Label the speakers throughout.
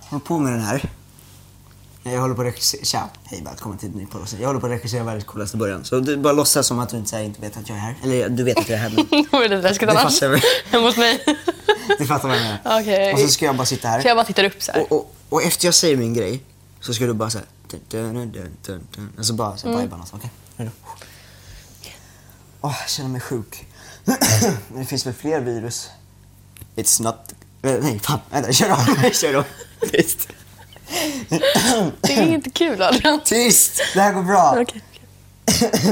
Speaker 1: håller på med den här. Jag håller på att regissera... Tja, hej välkommen till ny podd. Jag håller på att regissera världens coolaste början. Så du bara låtsas som att du inte, så här, inte vet att jag är här. Eller du vet att jag är här men
Speaker 2: Det var lite läskigt
Speaker 1: Det
Speaker 2: annars.
Speaker 1: fattar vi.
Speaker 2: Hemma hos mig.
Speaker 1: du fattar vad jag menar.
Speaker 2: Okej.
Speaker 1: Och så ska jag bara sitta här.
Speaker 2: Så jag bara tittar upp så här.
Speaker 1: Och, och, och efter jag säger min grej så ska du bara såhär... Och Alltså så bara så
Speaker 2: Mm.
Speaker 1: här, vibar något. Okej? Är du redo? Åh, jag känner mig sjuk. Men det finns väl fler virus? It's not... eh, Nej, fan. Vänta, kör om. kör om. Tyst.
Speaker 2: Det är inte kul Adrian.
Speaker 1: Tyst! Det här går bra.
Speaker 2: Okej.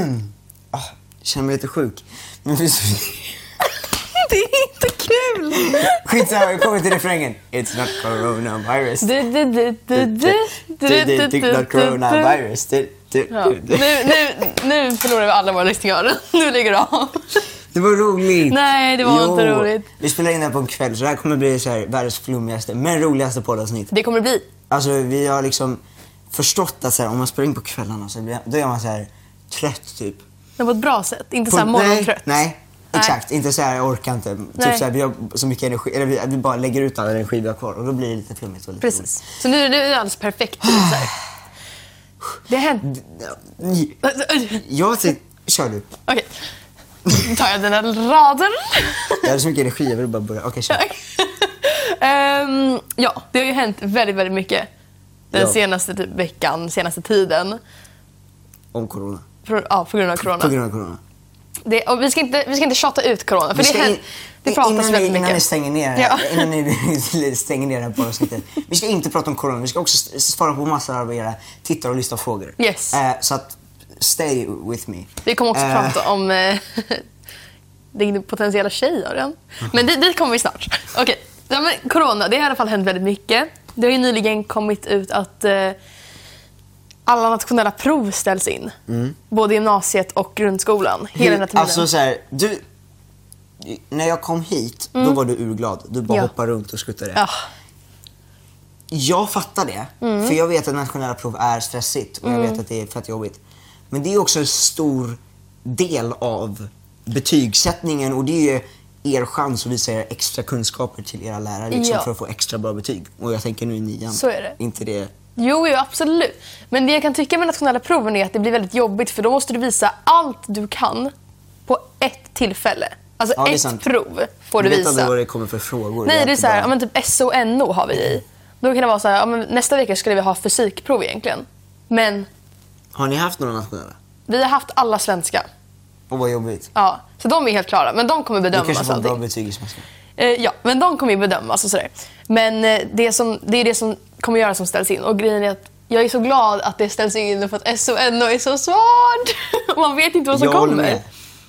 Speaker 1: Åh, Ah, jag känner mig lite sjuk. Men det finns...
Speaker 2: Det är inte kul!
Speaker 1: Skitsamma, vi kommer till refrängen. It's not coronavirus.
Speaker 2: Du, du, du, du, du, du, du,
Speaker 1: Det
Speaker 2: du,
Speaker 1: är not
Speaker 2: du, du.
Speaker 1: coronavirus. Du, du,
Speaker 2: Ja.
Speaker 1: du, du.
Speaker 2: Nu, nu, nu förlorar vi alla våra lyssningar. Nu lägger du av.
Speaker 1: Det var roligt.
Speaker 2: Nej, det var inte roligt.
Speaker 1: Vi spelar in det här på en kväll så det här kommer bli så här, världens flummigaste men roligaste poddavsnitt.
Speaker 2: Det kommer det bli.
Speaker 1: Alltså vi har liksom förstått att så här, om man spelar in på kvällarna så blir, då är man så här, trött typ.
Speaker 2: Men på ett bra sätt. Inte så här
Speaker 1: På-
Speaker 2: morgontrött.
Speaker 1: Nej, nej.
Speaker 2: Nej.
Speaker 1: Exakt, inte så här, jag orkar inte. Typ
Speaker 2: Nej.
Speaker 1: så här, vi har så mycket energi, eller vi, vi bara lägger ut all energi vi har kvar och då blir det lite flummigt och lite
Speaker 2: Precis. Så nu, nu är det alldeles perfekt. Så här. Det har hänt.
Speaker 1: roligt. Jag tycker, kör du.
Speaker 2: Okej. Nu tar jag dina rader.
Speaker 1: Jag hade så mycket energi, jag ville bara börja. Okej, kör.
Speaker 2: Ehm, ja, det har ju hänt väldigt, väldigt mycket den
Speaker 1: Ja.
Speaker 2: senaste typ, veckan, senaste tiden.
Speaker 1: Om corona.
Speaker 2: På, ja, på grund av corona.
Speaker 1: På grund av corona.
Speaker 2: Det, och vi, ska inte, vi ska inte tjata ut corona, för
Speaker 1: Vi ska
Speaker 2: det,
Speaker 1: in-
Speaker 2: händer, det pratas
Speaker 1: innan
Speaker 2: väldigt
Speaker 1: ni,
Speaker 2: mycket.
Speaker 1: Innan ni stänger ner,
Speaker 2: Ja.
Speaker 1: innan ni stänger ner det här poddavsnittet. Vi ska inte prata om corona, vi ska också s- svara på massor av era tittare och lyssna frågor.
Speaker 2: Yes.
Speaker 1: Eh, så att, stay with me.
Speaker 2: Vi kommer också
Speaker 1: Eh,
Speaker 2: prata om eh, din potentiella tjej, Adrian. Men dit, dit kommer vi snart. Okej, ja, men corona. Det har i alla fall hänt väldigt mycket. Det har ju nyligen kommit ut att eh, alla nationella prov ställs in. Både gymnasiet och grundskolan. Hela den här tiden.
Speaker 1: Mm. Alltså så här, du... När jag kom hit, då var du urglad. Du bara
Speaker 2: Mm. Ja.
Speaker 1: hoppade runt och skuttade.
Speaker 2: ja.
Speaker 1: Jag fattar det,
Speaker 2: Mm.
Speaker 1: för jag vet att nationella prov är stressigt och jag vet att det är fett jobbigt. Men det är också en stor del av betygssättningen och det är ju er chans att visa era extra kunskaper till era lärare liksom,
Speaker 2: Ja.
Speaker 1: för att få extra bra betyg. Och jag tänker nu i nian.
Speaker 2: Så är det.
Speaker 1: Inte det.
Speaker 2: Jo, jo, absolut. Men det jag kan tycka med nationella proven är att det blir väldigt jobbigt för då måste du visa allt du kan på ett tillfälle. Alltså
Speaker 1: Ja, det är sant.
Speaker 2: ett prov får
Speaker 1: du
Speaker 2: du
Speaker 1: vet
Speaker 2: visa.
Speaker 1: aldrig vad det kommer för frågor.
Speaker 2: Nej, det är
Speaker 1: alltid
Speaker 2: så här,
Speaker 1: bara-
Speaker 2: ja, men typ S och NO har vi i. Då kan det vara så här, ja, men nästa vecka skulle vi ha fysikprov egentligen. Men
Speaker 1: Har ni haft några nationella?
Speaker 2: vi har haft alla svenska.
Speaker 1: Och vad jobbigt.
Speaker 2: Ja, så de är helt klara, men de kommer
Speaker 1: Du
Speaker 2: bedömas.
Speaker 1: kanske får
Speaker 2: allting.
Speaker 1: bra betyg i svenska.
Speaker 2: Eh, ja, men de kommer ju bedömas och sådär. Men eh, det, som, det är det som kommer göra som ställs in. Och grejen är att jag är så glad att det ställs in för att S och NO är så svårt. Och Man vet inte vad som
Speaker 1: jag
Speaker 2: kommer.
Speaker 1: håller med.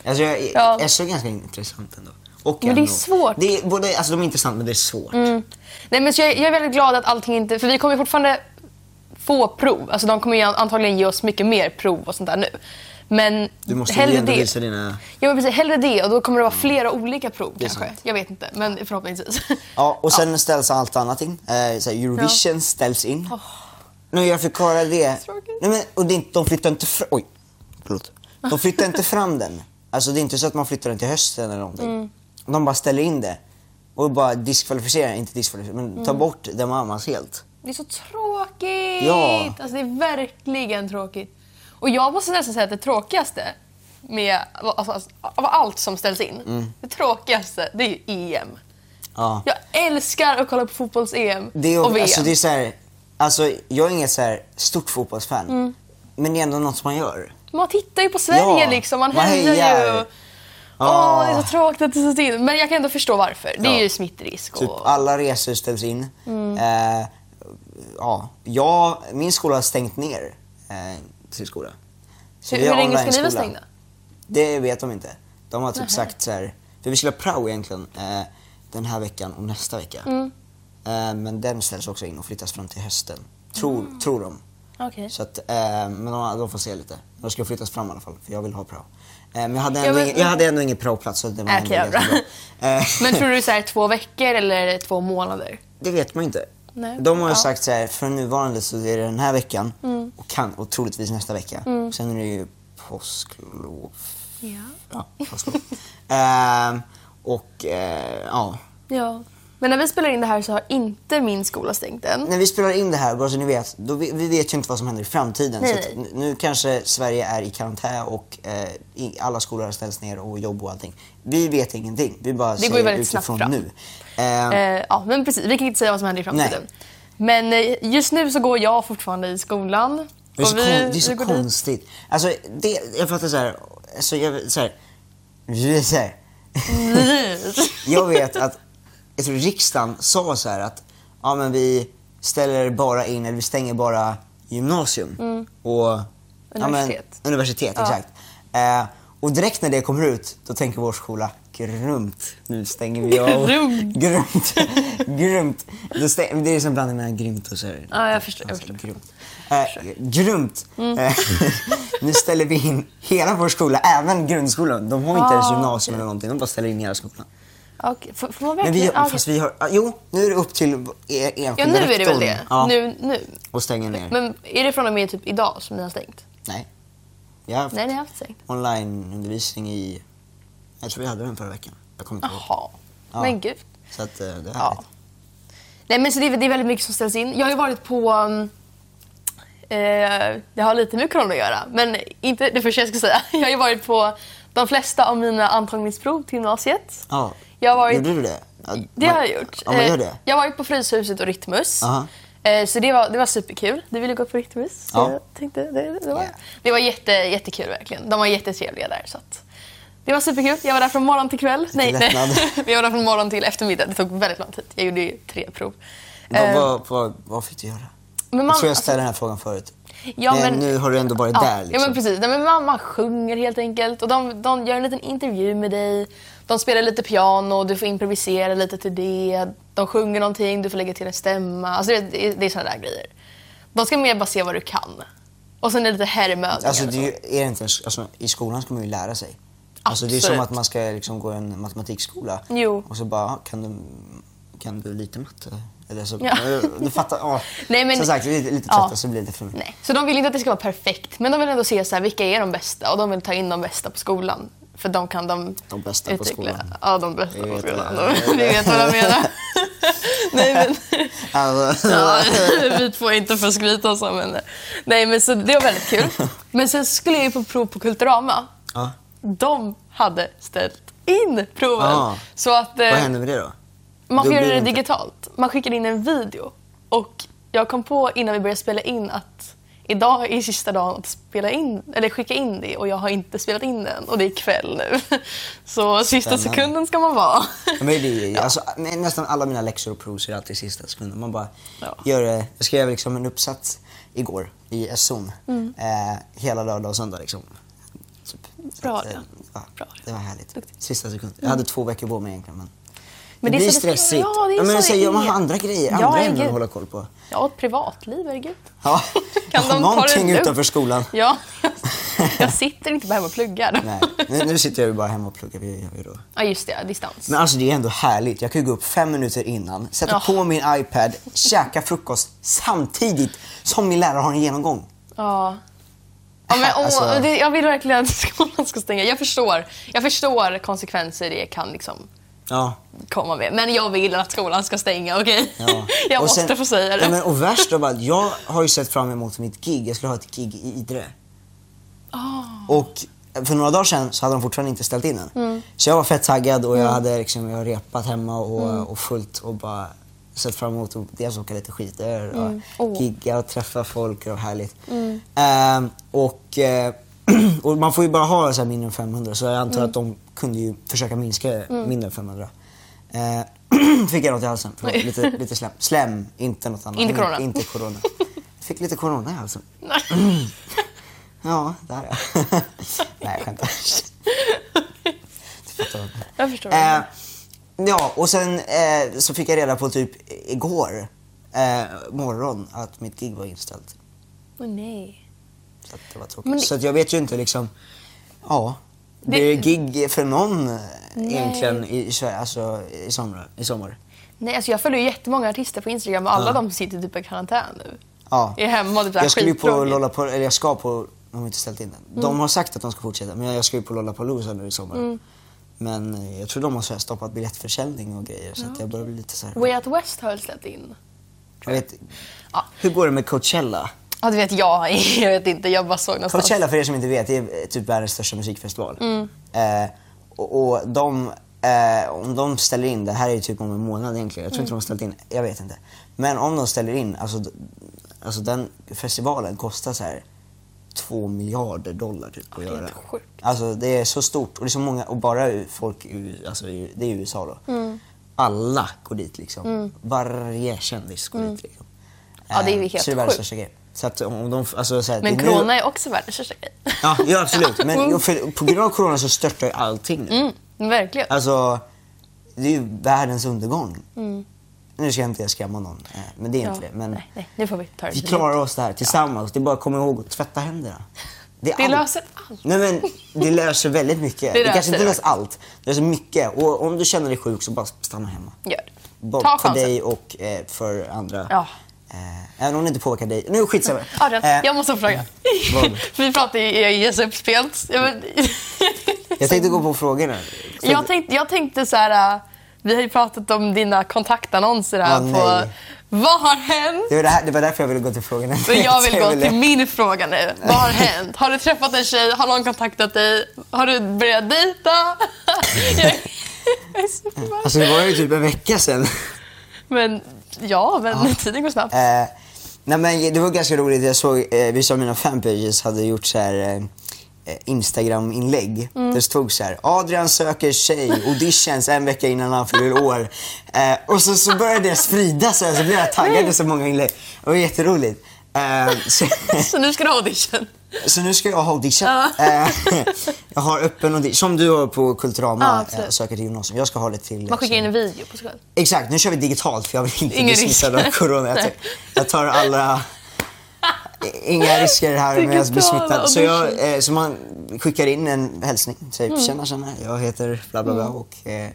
Speaker 1: Alltså, jag,
Speaker 2: Ja.
Speaker 1: jag såg ganska intressant ändå. Och
Speaker 2: Men det är
Speaker 1: ändå.
Speaker 2: svårt. Mm.
Speaker 1: Det är, både, alltså, de är intressanta men det är svårt.
Speaker 2: Nej, men så jag, jag är väldigt glad att allting inte... För vi kommer ju fortfarande få prov. Alltså, de kommer ju antagligen ge oss mycket mer prov och sånt där nu. Men
Speaker 1: Du måste ju
Speaker 2: hellre
Speaker 1: ändå
Speaker 2: det.
Speaker 1: visa dina... Mm.
Speaker 2: Ja, men precis, hellre det och då kommer det vara flera olika prov
Speaker 1: är
Speaker 2: kanske.
Speaker 1: sant.
Speaker 2: Jag vet inte, men förhoppningsvis.
Speaker 1: Ja, och sen ställs allt annat in. Eh, så här, Eurovision ställs in. Nu jag fick höra det.
Speaker 2: Tråkigt.
Speaker 1: Nej, men, och det, är inte- de flyttar inte fram... Oj, förlåt. De flyttar inte fram den. Alltså det är inte så att man flyttar den till hösten eller någonting.
Speaker 2: Mm.
Speaker 1: De bara ställer in det. Och bara diskvalificerar, inte diskvalificerar, men tar
Speaker 2: Mm.
Speaker 1: bort den mammas helt.
Speaker 2: Det är så tråkigt!
Speaker 1: Ja.
Speaker 2: Alltså, det är verkligen tråkigt. Och jag måste nästan säga att det tråkigaste med, alltså, alltså, av allt som ställs in,
Speaker 1: Mm.
Speaker 2: det tråkigaste det är ju EM.
Speaker 1: Ja.
Speaker 2: Jag älskar att kolla på fotbolls-EM
Speaker 1: Det är,
Speaker 2: och VM.
Speaker 1: alltså, det är så här, alltså, jag är inget så här stort fotbollsfan,
Speaker 2: Mm.
Speaker 1: men det är ändå något man gör.
Speaker 2: Man tittar ju på Sverige
Speaker 1: Ja,
Speaker 2: liksom, man
Speaker 1: man
Speaker 2: hejar ju.
Speaker 1: hejar.
Speaker 2: Åh,
Speaker 1: Ah.
Speaker 2: det är så tråkigt att det står still. Men jag kan ändå förstå varför. Det är
Speaker 1: Ja.
Speaker 2: ju smittrisk och...
Speaker 1: Typ alla resor ställs in.
Speaker 2: Mm.
Speaker 1: Eh, ja, jag, min skola har stängt ner eh, sin skola. Så
Speaker 2: hur
Speaker 1: vi
Speaker 2: hur
Speaker 1: har
Speaker 2: länge ska ni vara
Speaker 1: online-skola.
Speaker 2: stängda?
Speaker 1: Det vet de inte. De har typ sagt så här, för vi skulle ha prao egentligen eh, den här veckan och nästa vecka.
Speaker 2: Mm.
Speaker 1: Eh, men den ställs också in och flyttas fram till hösten. Tror,
Speaker 2: Mm.
Speaker 1: tror de.
Speaker 2: Okej.
Speaker 1: Så att, eh, men de, de får se lite. De ska flyttas fram i alla fall, för jag vill ha prao. Eh, men jag hade,
Speaker 2: Ja,
Speaker 1: ändå
Speaker 2: men-
Speaker 1: ingen, jag hade ändå ingen praoplats så det var
Speaker 2: Äh, Okej,
Speaker 1: ändå
Speaker 2: ja, bra.
Speaker 1: ganska bra. Eh,
Speaker 2: Men tror du så här två veckor eller två månader?
Speaker 1: Det vet man ju inte.
Speaker 2: Nej.
Speaker 1: De har ju
Speaker 2: Ja. Mm.
Speaker 1: sagt så här, för nuvarande så är det den här veckan och, kan, och troligtvis nästa vecka. Sen är det ju påsklov.
Speaker 2: Ja.
Speaker 1: Ja, påsklov. Ehm, och eh, ja,
Speaker 2: Ja. Men när vi spelar in det här så har inte min skola stängt än.
Speaker 1: När vi spelar in det här, bara så ni vet, då vi, vi vet ju inte vad som händer i framtiden.
Speaker 2: Nej,
Speaker 1: så att
Speaker 2: nej.
Speaker 1: n- nu kanske Sverige är i karantän och eh, i, alla skolor ställs ner och jobb och allting. Vi vet ingenting. Vi bara
Speaker 2: går ju
Speaker 1: säger
Speaker 2: väldigt snabbt
Speaker 1: utifrån
Speaker 2: fram.
Speaker 1: nu. Eh,
Speaker 2: Eh, ja, men precis. Vi kan inte säga vad som händer i framtiden. Men eh, just nu så går jag fortfarande i skolan.
Speaker 1: det är så,
Speaker 2: Eh, Och vi-
Speaker 1: kon, det är så
Speaker 2: vi går dit.
Speaker 1: konstigt. Alltså, det, jag fattar så här, alltså, jag, så här, vi är så här. Jag vet att jag tror riksdagen sa så här att ja, men vi ställer bara in, eller vi stänger bara gymnasium och
Speaker 2: Universitet.
Speaker 1: Ja, men, universitet
Speaker 2: Ja.
Speaker 1: exakt. Eh, och direkt när det kommer ut, då tänker vår skola grymt, nu stänger vi av.
Speaker 2: Grymt.
Speaker 1: grymt. grymt. Då stäng, det är som blandning mellan grymt och så här.
Speaker 2: Ja, jag förstår, Mm. jag
Speaker 1: Alltså,
Speaker 2: förstår.
Speaker 1: Grymt. Eh, grymt. Eh, nu ställer vi in hela vår skola, även grundskolan. De har inte
Speaker 2: Ah,
Speaker 1: ens gymnasium eller någonting, de bara ställer in hela skolan.
Speaker 2: Okej, får, får man
Speaker 1: Men
Speaker 2: verkligen...
Speaker 1: vi,
Speaker 2: ja, okej.
Speaker 1: fast vi har, ah, jo, nu är det upp till er- enskilda
Speaker 2: ja, nu är det väl
Speaker 1: rektorn.
Speaker 2: det.
Speaker 1: Ja,
Speaker 2: Nu, nu.
Speaker 1: och stänga ner.
Speaker 2: Men är det från och med typ idag som ni har stängt?
Speaker 1: Nej. Vi har haft
Speaker 2: Nej, ni har haft stängt.
Speaker 1: onlineundervisning i... Jag tror vi hade den förra veckan. Jag kommer inte ihåg.
Speaker 2: Jaha.
Speaker 1: Ja.
Speaker 2: Men gud.
Speaker 1: Så att, eh, det är
Speaker 2: Ja.
Speaker 1: härligt.
Speaker 2: Nej, men så det, är- det är väldigt mycket som ställs in. Jag har ju varit på... um, Eh, det har lite med corona att göra, men inte det första jag ska säga. Jag har ju varit på de flesta av mina antagningsprov till gymnasiet.
Speaker 1: Ja.
Speaker 2: Jag har varit-
Speaker 1: Gjorde du det? Ja,
Speaker 2: Det
Speaker 1: man-
Speaker 2: har jag gjort.
Speaker 1: Ja, man gör
Speaker 2: Eh,
Speaker 1: det.
Speaker 2: Jag har varit på Fryshuset och Rytmus.
Speaker 1: Aha.
Speaker 2: Eh, Så det var, det var superkul. Du ville gå på Rytmus. så
Speaker 1: Ja.
Speaker 2: Jag tänkte, det, det var,
Speaker 1: Yeah.
Speaker 2: det var jätte, jättekul verkligen. De var jättetrevliga där. Så att, det var superkul. Jag var där från morgon till kväll. Nej, nej.
Speaker 1: lättnad.
Speaker 2: Jag var där från morgon till eftermiddag. Det tog väldigt lång tid. Jag gjorde ju tre prov.
Speaker 1: Vad,
Speaker 2: Eh,
Speaker 1: vad, vad, vad fick du göra? jag
Speaker 2: men man- alltså-
Speaker 1: tror jag ställde den här frågan förut.
Speaker 2: Ja,
Speaker 1: men,
Speaker 2: men-
Speaker 1: nu har du ändå varit
Speaker 2: Ja,
Speaker 1: där. Liksom.
Speaker 2: ja men precis. Nej, men man, man sjunger helt enkelt och de, de gör en liten intervju med dig. De spelar lite piano, du får improvisera lite till det. De sjunger någonting, du får lägga till en stämma. Alltså, det, det, det är sådana där grejer. De ska mer bara se vad du kan. Och sen är det lite herrmövningar.
Speaker 1: Alltså,
Speaker 2: och
Speaker 1: det
Speaker 2: så.
Speaker 1: är, ju, är det inte ens, alltså, I skolan ska man ju lära sig. Alltså, det är som
Speaker 2: Absolut.
Speaker 1: att man ska liksom, gå en matematikskola
Speaker 2: Jo.
Speaker 1: och så bara, ah, kan du, kan du lite matte? Eller så,
Speaker 2: Ja.
Speaker 1: Du fattar. ah.
Speaker 2: Nej, men-
Speaker 1: som sagt, det är lite trött
Speaker 2: Ja.
Speaker 1: så blir det lite för mycket.
Speaker 2: Nej. Så de vill inte att det ska vara perfekt, men de vill ändå se så här, vilka är de bästa och de vill ta in de bästa på skolan. För de kan de
Speaker 1: De bästa på skolan.
Speaker 2: Ja, de bästa
Speaker 1: Vi
Speaker 2: på
Speaker 1: vet
Speaker 2: skolan.
Speaker 1: vad-
Speaker 2: De- Ni vet vad jag menar. Nej, men...
Speaker 1: Alltså,
Speaker 2: Ja, vi två är inte för att skryta så, men... eh, Nej, men så det var väldigt kul. Men sen skulle jag ju på prov på Kulturama.
Speaker 1: ja.
Speaker 2: De hade ställt in proven.
Speaker 1: Ah.
Speaker 2: Så att eh,
Speaker 1: Vad händer med det då? Då
Speaker 2: man får göra
Speaker 1: blir
Speaker 2: det
Speaker 1: det inte-
Speaker 2: digitalt. Man skickar in en video. Och jag kom på innan vi började spela in att idag är sista dagen att spela in, eller skicka in det och jag har inte spelat in den och det är kväll nu. Så sista
Speaker 1: Spännande.
Speaker 2: sekunden ska man vara.
Speaker 1: Ja, Men det, är- alltså, men nästan alla mina läxor och prov så är det alltid sista sekunden. Man bara
Speaker 2: Ja.
Speaker 1: gör det. Jag skrev liksom en uppsats igår i SON.
Speaker 2: Mm.
Speaker 1: Eh, hela lördag och söndag. Liksom. Typ. Så
Speaker 2: Bra
Speaker 1: att, eh,
Speaker 2: det.
Speaker 1: ja,
Speaker 2: Bra
Speaker 1: Det var härligt.
Speaker 2: Duktigt. Mm.
Speaker 1: Sista sekunden. Jag hade två veckor på mig egentligen. Men,
Speaker 2: Men
Speaker 1: det,
Speaker 2: det är
Speaker 1: blir
Speaker 2: så det-
Speaker 1: stressigt.
Speaker 2: ja, det är
Speaker 1: men
Speaker 2: så
Speaker 1: så
Speaker 2: det
Speaker 1: gör man
Speaker 2: är.
Speaker 1: har andra grejer, andra
Speaker 2: Ja,
Speaker 1: ämnen
Speaker 2: herregud.
Speaker 1: att hålla koll på.
Speaker 2: Ja, ett privatliv, herregud.
Speaker 1: Ja.
Speaker 2: Kan de ta
Speaker 1: Någonting
Speaker 2: det lugnt?
Speaker 1: utanför skolan.
Speaker 2: Ja, jag sitter inte bara hemma och pluggar.
Speaker 1: Nej, nu, nu sitter jag ju bara hemma och pluggar. Vi gör ju då.
Speaker 2: Ja, just det. Distans.
Speaker 1: Men alltså det är ändå härligt. Jag kan ju gå upp fem minuter innan, sätta
Speaker 2: Ja.
Speaker 1: på min iPad, käka frukost samtidigt som min lärare har en genomgång.
Speaker 2: Ja. Ja, men, åh,
Speaker 1: Alltså-
Speaker 2: det, jag vill verkligen att skolan ska stänga. Jag förstår, jag förstår konsekvenser det kan liksom
Speaker 1: Ja.
Speaker 2: komma med. Men jag vill att skolan ska stänga, okej?
Speaker 1: ja.
Speaker 2: Jag
Speaker 1: Och sen-
Speaker 2: måste få säga
Speaker 1: Ja, men,
Speaker 2: det.
Speaker 1: och värst av allt, jag har ju sett fram emot mitt gig. Jag skulle ha ett gig i Idre. Och för några dagar sedan så hade de fortfarande inte ställt in den.
Speaker 2: Mm.
Speaker 1: Så jag var fett taggad och jag hade liksom, jag har repat hemma och,
Speaker 2: Mm.
Speaker 1: och fullt och bara sett fram emot att dels åka lite skidor och
Speaker 2: Mm. Åh. Mm.
Speaker 1: gigga och träffa folk och härligt. Ehm, och, eh, och man får ju bara ha så här mindre än 500 så jag antar
Speaker 2: Mm.
Speaker 1: att de kunde ju försöka minska mindre än 500. Eh, fick jag något i halsen? Förlåt,
Speaker 2: Nej.
Speaker 1: lite, lite slem. Slem, inte något annat.
Speaker 2: Inte corona.
Speaker 1: Inte corona. Fick lite corona i halsen. Mm.
Speaker 2: Nej.
Speaker 1: Ja, där är jag. Nej, jag skämtar. Du fattar vad jag menar.
Speaker 2: Jag förstår.
Speaker 1: Eh, ja, och sen eh, så fick jag reda på typ igår eh, morgon att mitt gig var inställt.
Speaker 2: Åh, nej.
Speaker 1: Så att det var tråkigt.
Speaker 2: Men det-
Speaker 1: Så att jag vet ju inte liksom... Ja. Det
Speaker 2: Det-
Speaker 1: är gig för någon eh, egentligen i, i, Sverige, alltså, i, sommar, i sommar.
Speaker 2: nej alltså jag följer ju jättemånga artister på Instagram och alla
Speaker 1: Ja.
Speaker 2: de sitter typ i karantän nu.
Speaker 1: Ja.
Speaker 2: Är hemma och typ så här
Speaker 1: Jag skulle ju på
Speaker 2: skittråkigt.
Speaker 1: Lollapalooza, eller jag
Speaker 2: Mm.
Speaker 1: ska på, de har inte ställt in den. De har sagt att de ska fortsätta men jag ska ju på Lollapalooza nu i sommar. Men eh, jag tror de har så här stoppat biljettförsäljning och grejer så att jag börjar bli lite så här...
Speaker 2: Way Out West har väl släppt in?
Speaker 1: Jag vet,
Speaker 2: Ja.
Speaker 1: hur går det med Coachella?
Speaker 2: Ja, du vet jag. Jag vet inte. Jag bara såg någonstans. Mm.
Speaker 1: Coachella för er som inte vet, det är eh, typ världens största musikfestival. Eh, och, och de, eh, om de ställer in, det här är ju typ om en månad egentligen, jag tror
Speaker 2: Mm.
Speaker 1: inte de har ställt in, jag vet inte. Men om de ställer in, alltså, d- alltså den festivalen kostar så här 2 miljarder dollar typ att
Speaker 2: det är
Speaker 1: göra.
Speaker 2: helt sjukt.
Speaker 1: Alltså det är så stort och det är så många, och bara u- folk i, alltså, i- det är USA då.
Speaker 2: Mm.
Speaker 1: Alla går dit liksom. Varje kändis går dit liksom.
Speaker 2: Mm. Ja, det är ju
Speaker 1: Eh,
Speaker 2: helt
Speaker 1: Så det är världens
Speaker 2: sjukt.
Speaker 1: största grej. Så att om de, alltså, så här,
Speaker 2: Men
Speaker 1: det är nu-
Speaker 2: corona är också världens största grej.
Speaker 1: Ja, ja absolut. Men jo, för, på grund av corona så störtar ju allting nu.
Speaker 2: Mm, verkligen.
Speaker 1: Alltså, det är ju världens undergång. Nu ska jag inte skrämma någon, eh, men det är inte
Speaker 2: Mm. Ja.
Speaker 1: det. Men
Speaker 2: Nej, nej, nu får vi ta det
Speaker 1: vi
Speaker 2: lugnt.
Speaker 1: klarar oss där tillsammans. Det är bara att komma ihåg att tvätta händerna.
Speaker 2: Det
Speaker 1: allt.
Speaker 2: löser allt.
Speaker 1: Nej, men det löser väldigt mycket.
Speaker 2: Det
Speaker 1: Det, kanske
Speaker 2: löser
Speaker 1: inte
Speaker 2: det
Speaker 1: löser allt. Det löser mycket. Och om du känner dig sjuk så bara stanna hemma.
Speaker 2: Gör det.
Speaker 1: Både
Speaker 2: Ta
Speaker 1: för
Speaker 2: chansen.
Speaker 1: dig och eh, för andra.
Speaker 2: Ja.
Speaker 1: Eh, även om det inte påverkar dig. Nu skitsamma.
Speaker 2: Adrian,
Speaker 1: Eh,
Speaker 2: jag måste fråga.
Speaker 1: vad?
Speaker 2: vi pratar ju jag ges upp spelt. Jag, men...
Speaker 1: jag tänkte gå på frågorna.
Speaker 2: jag, tänkte, jag tänkte så här... äh, Vi har ju pratat om dina kontaktannonser här
Speaker 1: Åh,
Speaker 2: på...
Speaker 1: nej.
Speaker 2: Vad har hänt?
Speaker 1: Det var, det, här, det var därför jag ville gå till frågorna.
Speaker 2: Så jag vill gå
Speaker 1: ville-
Speaker 2: till min fråga nu. Vad har hänt? Har du träffat en tjej? Har någon kontaktat dig? Har du börjat dejta? jag jag är så förbannad.
Speaker 1: Alltså det var ju typ en vecka sedan.
Speaker 2: Men ja, men tiden går snabbt.
Speaker 1: Eh, nej men det var ganska roligt, jag såg eh, vissa av mina fanpages hade gjort så här eh, eh, Instagram-inlägg.
Speaker 2: Mm.
Speaker 1: Det stod så här, Adrian söker tjej, auditions en vecka innan han fyller år. Eh, och så, så började det spridas så, här, så blev jag taggad i så många inlägg. Det var jätteroligt. Eh, så,
Speaker 2: Så nu ska du ha audition.
Speaker 1: Så nu ska jag ha audition.
Speaker 2: Ja.
Speaker 1: Eh, jag har öppen audition, som du har på
Speaker 2: Ja,
Speaker 1: Kulturama,
Speaker 2: absolut.
Speaker 1: eh, söker till gymnasium. Jag ska ha det till...
Speaker 2: Man skickar in en video på sig själv.
Speaker 1: Exakt, nu kör vi digitalt för jag vill inte
Speaker 2: Ingen
Speaker 1: bli
Speaker 2: risk.
Speaker 1: smittad av corona. Jag tar,
Speaker 2: Nej.
Speaker 1: jag tar alla... Inga risker här med att bli
Speaker 2: Digitala
Speaker 1: smittad. Så, jag,
Speaker 2: audition.
Speaker 1: eh, så man skickar in en hälsning. Säger
Speaker 2: Mm.
Speaker 1: tjena tjena, jag heter bla bla bla och eh,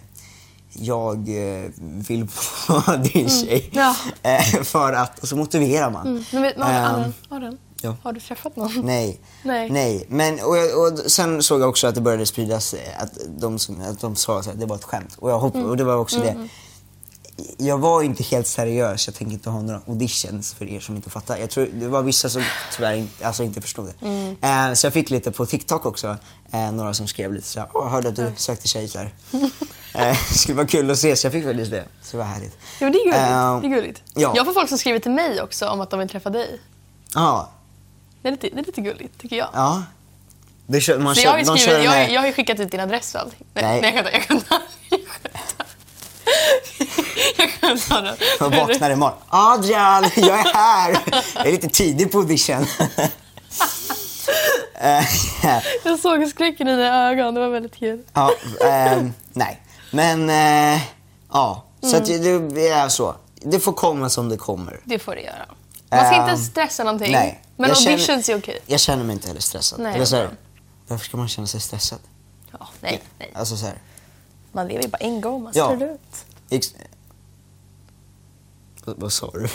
Speaker 1: jag eh, vill vara din tjej.
Speaker 2: Mm. Ja. Mm.
Speaker 1: Eh, för att, och så motiverar man.
Speaker 2: Men vet, men Adrian,
Speaker 1: Ehm,
Speaker 2: Adrian, Adrian,
Speaker 1: ja.
Speaker 2: har du träffat någon?
Speaker 1: Nej.
Speaker 2: Nej.
Speaker 1: Men, och, jag- och sen såg jag också att det började spridas eh, att de, som, att de sa att det var ett skämt. Och, jag hopp,
Speaker 2: Mm.
Speaker 1: och det var också det. Jag var ju inte helt seriös. Jag tänker inte ha några auditions för er som inte fattar. Jag tror det var vissa som tyvärr inte, alltså inte förstod det.
Speaker 2: Mm.
Speaker 1: Eh, så jag fick lite på TikTok också. Eh, några som skrev lite så här, Åh, hörde att du sökte tjej så här. eh, skulle vara kul att ses. Jag fick faktiskt det. Så det var härligt.
Speaker 2: Jo, det är gulligt.
Speaker 1: Ehm,
Speaker 2: det är gulligt.
Speaker 1: ja.
Speaker 2: Jag får folk som skriver till mig också om att de vill träffa dig.
Speaker 1: Ja.
Speaker 2: Det är lite, det är lite gulligt, tycker jag.
Speaker 1: ja. Det kör, man
Speaker 2: Så jag, har ju
Speaker 1: de kör
Speaker 2: skrivit,
Speaker 1: den
Speaker 2: jag, har
Speaker 1: här-
Speaker 2: ju- jag har ju skickat ut din adress och allting. Nej,
Speaker 1: Nej.
Speaker 2: nej. jag skämtar. Jag skämtar. Jag skämtar. Jag skämtar.
Speaker 1: Jag vaknar imorgon. Adrian, jag är här! Jag är lite tidig på audition. Eh,
Speaker 2: Jag såg skräcken i dina ögon. Det var väldigt kul.
Speaker 1: ja, ehm, nej, men eh, ja. Så att
Speaker 2: Mm.
Speaker 1: det, det är så. Det får komma som det kommer.
Speaker 2: Det får du göra. Man ska
Speaker 1: Ehm,
Speaker 2: inte stressa någonting.
Speaker 1: Nej.
Speaker 2: Men
Speaker 1: Jag känner-
Speaker 2: auditions är okej.
Speaker 1: Jag känner mig inte heller stressad.
Speaker 2: Nej,
Speaker 1: Eller så här,
Speaker 2: okej.
Speaker 1: varför ska man känna sig stressad?
Speaker 2: Ja, nej, nej.
Speaker 1: Alltså så här,
Speaker 2: Man lever ju bara en gång. Man
Speaker 1: Ja.
Speaker 2: står ut.
Speaker 1: ex- vad, vad sa du?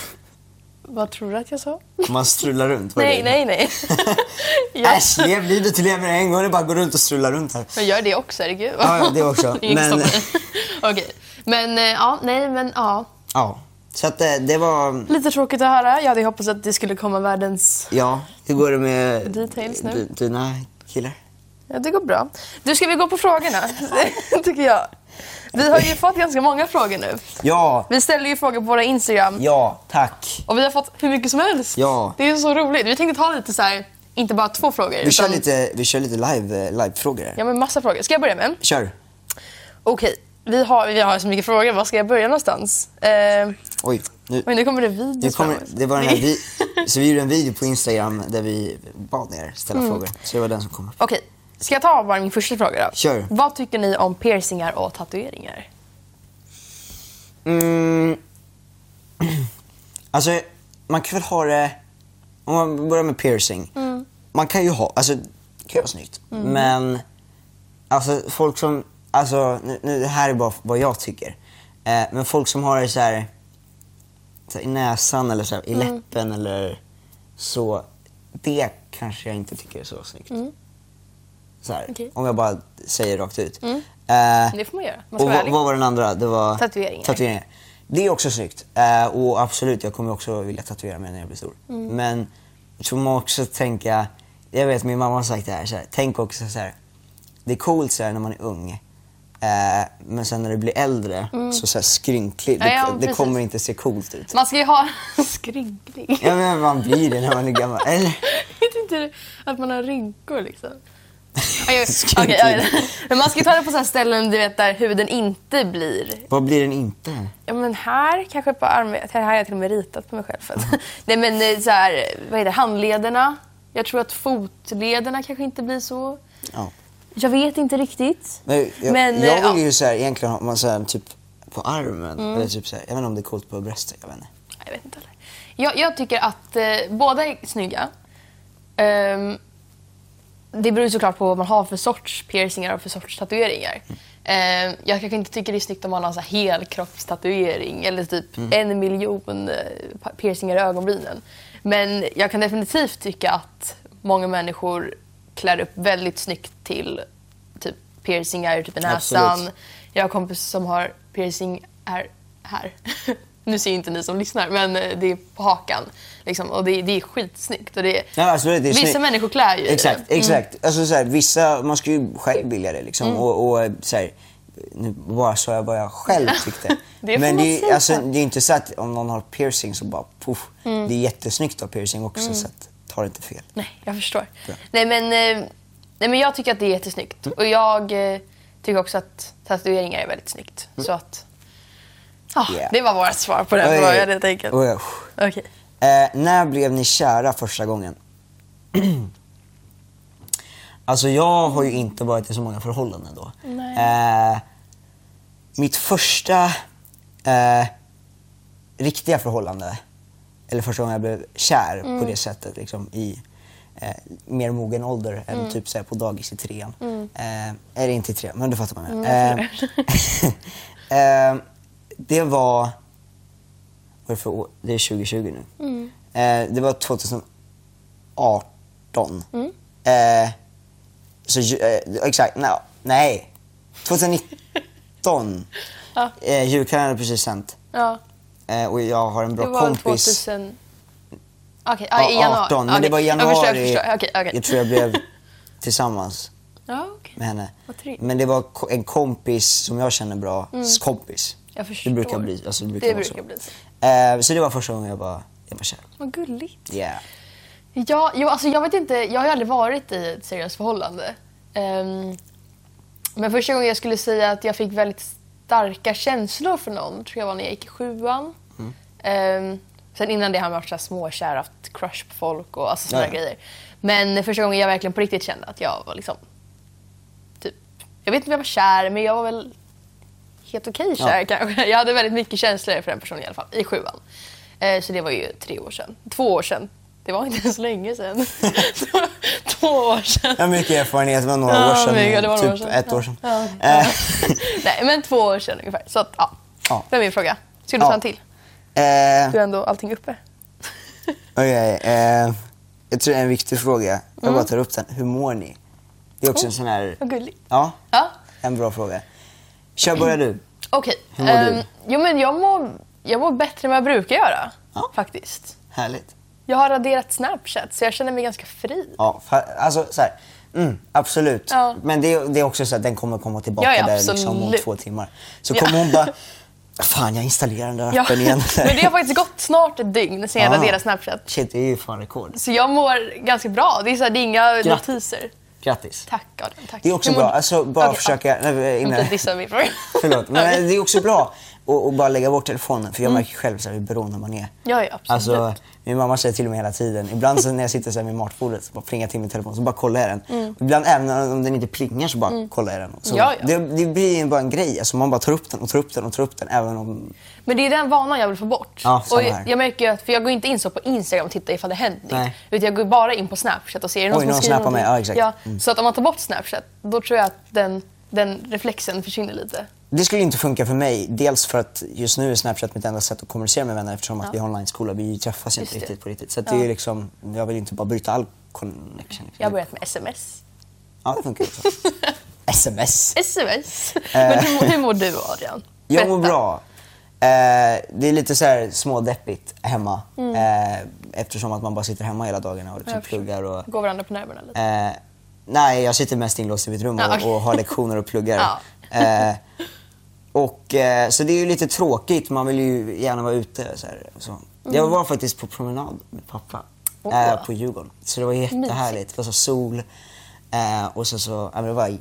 Speaker 2: Vad tror du att jag sa?
Speaker 1: Man strular runt? var
Speaker 2: Nej,
Speaker 1: det?
Speaker 2: nej, nej. jag,
Speaker 1: Äsch, lev livet du lever en gång. Det är bara att gå runt och strula runt här.
Speaker 2: jag gör det också, herregud.
Speaker 1: Ja, ja, det också.
Speaker 2: Ingen
Speaker 1: Men-
Speaker 2: stoppar mig. Okej. Men eh, ja, nej, men ja.
Speaker 1: Ja, så att eh, det, det var...
Speaker 2: Lite tråkigt att höra. Jag hade hoppats att det skulle komma världens...
Speaker 1: Ja, hur går det med
Speaker 2: Details nu.
Speaker 1: d- dina killar?
Speaker 2: Ja, det går bra. Du, ska vi gå på frågorna? tycker jag. Vi har ju fått ganska många frågor nu.
Speaker 1: Ja,
Speaker 2: Vi ställer ju frågor på våra Instagram
Speaker 1: ja, tack.
Speaker 2: och vi har fått hur mycket som helst.
Speaker 1: Ja.
Speaker 2: Det är så roligt. Vi tänkte ta lite så här, inte bara två frågor.
Speaker 1: Vi kör
Speaker 2: utan-
Speaker 1: lite, vi kör lite live, eh, live-frågor här.
Speaker 2: Ja, men massa frågor. Ska jag börja med?
Speaker 1: Kör.
Speaker 2: Okej, vi har, vi har så mycket frågor. Var ska jag börja någonstans? Eh,
Speaker 1: Oj, nu,
Speaker 2: men nu kommer det
Speaker 1: nu
Speaker 2: videos
Speaker 1: kommer,
Speaker 2: framåt.
Speaker 1: det var den här vi, så vi gjorde en video på Instagram där vi bad er ställa frågor. Så det var den som kom upp.
Speaker 2: Okej, ska jag ta bara min första fråga då?
Speaker 1: Kör.
Speaker 2: Vad tycker ni om piercingar och tatueringar?
Speaker 1: Mm. Alltså, man kan väl ha det... Om man börjar med piercing.
Speaker 2: Mm.
Speaker 1: Man kan ju ha... Alltså, det kan ju vara snyggt. Men, alltså folk som... Alltså, nu, nu, det här är bara vad jag tycker. Eh, men folk som har det så här, så här i näsan eller så här, i
Speaker 2: Mm.
Speaker 1: läppen eller så. Det kanske jag inte tycker är så snyggt. Så här,
Speaker 2: Mm. Okej. Mm.
Speaker 1: Om jag bara säger rakt ut. Eh,
Speaker 2: Det får man göra. Man
Speaker 1: och
Speaker 2: ska vara
Speaker 1: vad,
Speaker 2: ärlig.
Speaker 1: vad var den andra? Det var
Speaker 2: Tatueringar.
Speaker 1: tatueringar. Det är också snyggt. Eh, och absolut, jag kommer också vilja tatuera mig när jag blir stor.
Speaker 2: Mm.
Speaker 1: Men så får man också tänka, jag vet min mamma har sagt det här, så här tänk också så här. det är coolt så här, när man är ung. eh, men sen när du blir äldre, så, så här skrynklig, det,
Speaker 2: Mm. Ja, ja,
Speaker 1: det
Speaker 2: precis.
Speaker 1: kommer inte se coolt ut.
Speaker 2: Man ska ju ha skrynklig.
Speaker 1: Ja men man blir det när man är gammal. Eller?
Speaker 2: Jag vet inte att man har rynkor liksom. Okej,
Speaker 1: Skrynklig.
Speaker 2: okej, okej. Men man ska ju ta det på så här ställen du vet, där huden inte blir
Speaker 1: Vad blir den inte?
Speaker 2: Ja men här kanske på armvetet, här har jag till och med ritat på mig själv.
Speaker 1: Mm.
Speaker 2: Nej men eh, så här, vad heter det, handlederna. Jag tror att fotlederna kanske inte blir så.
Speaker 1: Ja.
Speaker 2: Jag vet inte riktigt.
Speaker 1: Men jag,
Speaker 2: Men, eh,
Speaker 1: jag
Speaker 2: ja. Mm.
Speaker 1: vill ju så här, egentligen ha man så här, typ på armen. Eller typ så här, jag vet inte om det är coolt på bröstet. Jag vet inte.
Speaker 2: Jag vet inte heller. Jag, jag tycker att eh, båda är snygga. Ehm, det beror ju såklart på vad man har för sorts piercingar och för sorts tatueringar. Ehm, jag kanske inte tycker det är snyggt om man har en helkroppstatuering eller typ en miljon eh, pa- piercingar i ögonbrynen. Men jag kan definitivt tycka att många människor klär upp väldigt snyggt till typ piercingar typ i näsan.
Speaker 1: Absolut.
Speaker 2: Jag har en kompis som har piercing här. här. nu ser inte ni som lyssnar, men eh, det är på hakan. Liksom, och det, det är skitsnyggt. Och det,
Speaker 1: Ja, alltså, det är
Speaker 2: vissa
Speaker 1: snyggt.
Speaker 2: människor klär ju i det. Mm.
Speaker 1: Exakt, exakt. Alltså, så här, vissa, man ska ju själv vilja det liksom. Och, och så här, nu bara sa jag vad jag själv tyckte.
Speaker 2: Det får
Speaker 1: Men
Speaker 2: man
Speaker 1: det, är-
Speaker 2: säga.
Speaker 1: alltså, det är inte så att om någon har piercing så bara poff.
Speaker 2: Mm.
Speaker 1: Det är jättesnyggt att ha piercing också så att, ta det inte fel.
Speaker 2: Nej, jag förstår.
Speaker 1: Bra.
Speaker 2: Nej men, eh, nej, men jag tycker att det är jättesnyggt.
Speaker 1: Mm.
Speaker 2: Och jag eh, tycker också att tatueringar är väldigt snyggt. Så att... Ja,
Speaker 1: Mm. Yeah.
Speaker 2: Det var vårt svar på den
Speaker 1: Oj,
Speaker 2: frågan helt enkelt.
Speaker 1: oj, oj.
Speaker 2: Okej.
Speaker 1: Eh, när blev ni kära första gången? alltså jag har ju inte varit i så många förhållanden då. Eh, mitt första eh, riktiga förhållande, eller första gången jag blev kär på det sättet liksom, i eh, mer mogen ålder än typ så här, på dagis i trean. Eh, eller inte i trean, men du fattar vad jag menar. Eh, eh, det var... Vad är det för år? Det är 2020 nu. Eh, det var 2018. Eh, så, ju- eh, exakt, nej. nej. 2019.
Speaker 2: Ja.
Speaker 1: eh, julkalendern hade precis sänt.
Speaker 2: Ja,
Speaker 1: Eh, och jag har en
Speaker 2: det
Speaker 1: bra
Speaker 2: var
Speaker 1: kompis.
Speaker 2: 2000... Okej, ja, i
Speaker 1: Ja,
Speaker 2: januari.
Speaker 1: 18, men
Speaker 2: Okej,
Speaker 1: det var i
Speaker 2: Jag förstår,
Speaker 1: januari.
Speaker 2: jag förstår. Okej, okej.
Speaker 1: jag tror jag blev tillsammans
Speaker 2: Ja, okej.
Speaker 1: med henne.
Speaker 2: Vad trevligt. Mm.
Speaker 1: Men det var ko- en kompis som jag känner bra, kompis.
Speaker 2: Jag
Speaker 1: Det
Speaker 2: förstår.
Speaker 1: brukar bli, alltså, det brukar
Speaker 2: Det
Speaker 1: vara
Speaker 2: brukar
Speaker 1: så.
Speaker 2: bli så.
Speaker 1: Eh, så det var första gången jag var, jag var kär.
Speaker 2: Vad gulligt.
Speaker 1: Yeah.
Speaker 2: Ja, jo, alltså jag vet inte. Jag har ju aldrig varit i ett seriöst förhållande. Ehm, men första gången jag skulle säga att jag fick väldigt starka känslor för någon tror jag var när jag gick i sjuan.
Speaker 1: Mm.
Speaker 2: Ehm, sen innan det har man varit så här småkär, haft crush på folk och alltså sådana
Speaker 1: Ja, ja.
Speaker 2: grejer. Men första gången jag verkligen på riktigt kände att jag var liksom... Typ, jag vet inte om jag var kär, men jag var väl helt okej kär kanske. Jag hade väldigt mycket känslor för den personen i alla fall, i sjuan. Eh, så det var ju tre år sedan. Två år sedan. Det var inte ens länge sedan. Två- Två år sedan.
Speaker 1: Jag har mycket erfarenhet, det var några
Speaker 2: Ja,
Speaker 1: år sedan.
Speaker 2: men gud, det var några
Speaker 1: typ
Speaker 2: år sedan.
Speaker 1: ett
Speaker 2: Ja.
Speaker 1: år sedan.
Speaker 2: Ja.
Speaker 1: Eh,
Speaker 2: Nej, men två år sedan ungefär. Så att, ja.
Speaker 1: Ja.
Speaker 2: Det är min fråga. Ska du
Speaker 1: Ja.
Speaker 2: ta en till?
Speaker 1: eh,
Speaker 2: Du har ändå allting uppe.
Speaker 1: Okej, eh, jag tror det är en viktig fråga. Jag bara tar upp den. Hur mår ni? Det är också en sån här...
Speaker 2: Mm. Oh. Vad gulligt.
Speaker 1: Ja,
Speaker 2: Ja,
Speaker 1: en bra fråga. Kör bara du.
Speaker 2: okej.
Speaker 1: Hur mår du?
Speaker 2: Ehm, Jo, men jag mår, jag mår bättre än vad jag brukar göra.
Speaker 1: Ja.
Speaker 2: Faktiskt.
Speaker 1: Härligt.
Speaker 2: Jag har raderat Snapchat så jag känner mig ganska fri.
Speaker 1: Ja, fa- alltså så här. Mm, absolut.
Speaker 2: Ja.
Speaker 1: Men det, är- det är också så att den kommer komma tillbaka
Speaker 2: Ja, ja,
Speaker 1: där liksom om
Speaker 2: absolut.
Speaker 1: två timmar. Så
Speaker 2: Ja.
Speaker 1: kommer hon bara... Fan, jag installerar den där
Speaker 2: Ja.
Speaker 1: appen igen.
Speaker 2: Men det har faktiskt gått snart ett dygn sedan jag
Speaker 1: Ah.
Speaker 2: raderade Snapchat.
Speaker 1: Shit, det är ju fan rekord.
Speaker 2: Så jag mår ganska bra. Det är, så här, det är inga
Speaker 1: Grattis.
Speaker 2: notiser.
Speaker 1: Grattis.
Speaker 2: Tack, Adam. Tack.
Speaker 1: Det är också
Speaker 2: Hur mår
Speaker 1: bra.
Speaker 2: du?
Speaker 1: Alltså, bara
Speaker 2: Okej,
Speaker 1: försöka... Nej,
Speaker 2: ja.
Speaker 1: innan-
Speaker 2: Inte dissa min fråga.
Speaker 1: Förlåt, men
Speaker 2: Okej.
Speaker 1: det är också bra att, att bara lägga bort telefonen för jag
Speaker 2: Mm.
Speaker 1: märker själv så här hur beroende man är.
Speaker 2: Ja, ja, absolut.
Speaker 1: Alltså, min mamma säger till mig hela tiden, ibland så när jag sitter så här vid matbordet så bara plingar till min telefon så bara kollar jag den. Ibland även om den inte plingar så bara kollar jag den. Så
Speaker 2: Mm. Ja, ja.
Speaker 1: Det, det blir ju bara en grej, alltså, man bara tar upp den och tar upp den och tar upp den även om...
Speaker 2: Men det är den vanan jag vill få bort.
Speaker 1: Ja, samma
Speaker 2: och jag,
Speaker 1: här.
Speaker 2: jag märker ju att, för jag går inte in så på Instagram och tittar ifall det händer
Speaker 1: Nej.
Speaker 2: något. Utan jag går bara in på Snapchat och ser är det någon
Speaker 1: Oj,
Speaker 2: som
Speaker 1: någon
Speaker 2: skriver
Speaker 1: snappar mig.
Speaker 2: någonting?
Speaker 1: Ja, exakt. Mm.
Speaker 2: Så att om man tar bort Snapchat, då tror jag att den, den reflexen försvinner lite.
Speaker 1: Det skulle ju inte funka för mig, dels för att just nu är Snapchat mitt enda sätt att kommunicera med vänner eftersom att vi har online-skola, vi träffas
Speaker 2: Just
Speaker 1: inte
Speaker 2: det.
Speaker 1: riktigt på riktigt. Så att
Speaker 2: Ja.
Speaker 1: det är liksom, jag vill ju inte bara bryta all connection.
Speaker 2: Jag har börjat med sms.
Speaker 1: Ja, det funkar också. Sms.
Speaker 2: Sms. Men hur, mår- hur mår du Adrian?
Speaker 1: Eh. Jag mår
Speaker 2: Berätta.
Speaker 1: bra. Eh, det är lite så här smådeppigt hemma eh, eftersom att man bara sitter hemma hela dagarna och
Speaker 2: Mm. Jag
Speaker 1: typ pluggar och...
Speaker 2: Går varandra på nerverna lite.
Speaker 1: Eh, nej, jag sitter mest inlåst i mitt rum och,
Speaker 2: Ja, okej.
Speaker 1: och har lektioner och pluggar.
Speaker 2: Ja.
Speaker 1: Eh, och, eh, så det är ju lite tråkigt, man vill ju gärna vara ute. Så här, så. Jag var faktiskt på promenad med pappa
Speaker 2: Mm. Åh.
Speaker 1: eh, på Djurgården. Så det var jättehärligt. Det var så sol eh, och så, så ja, men det var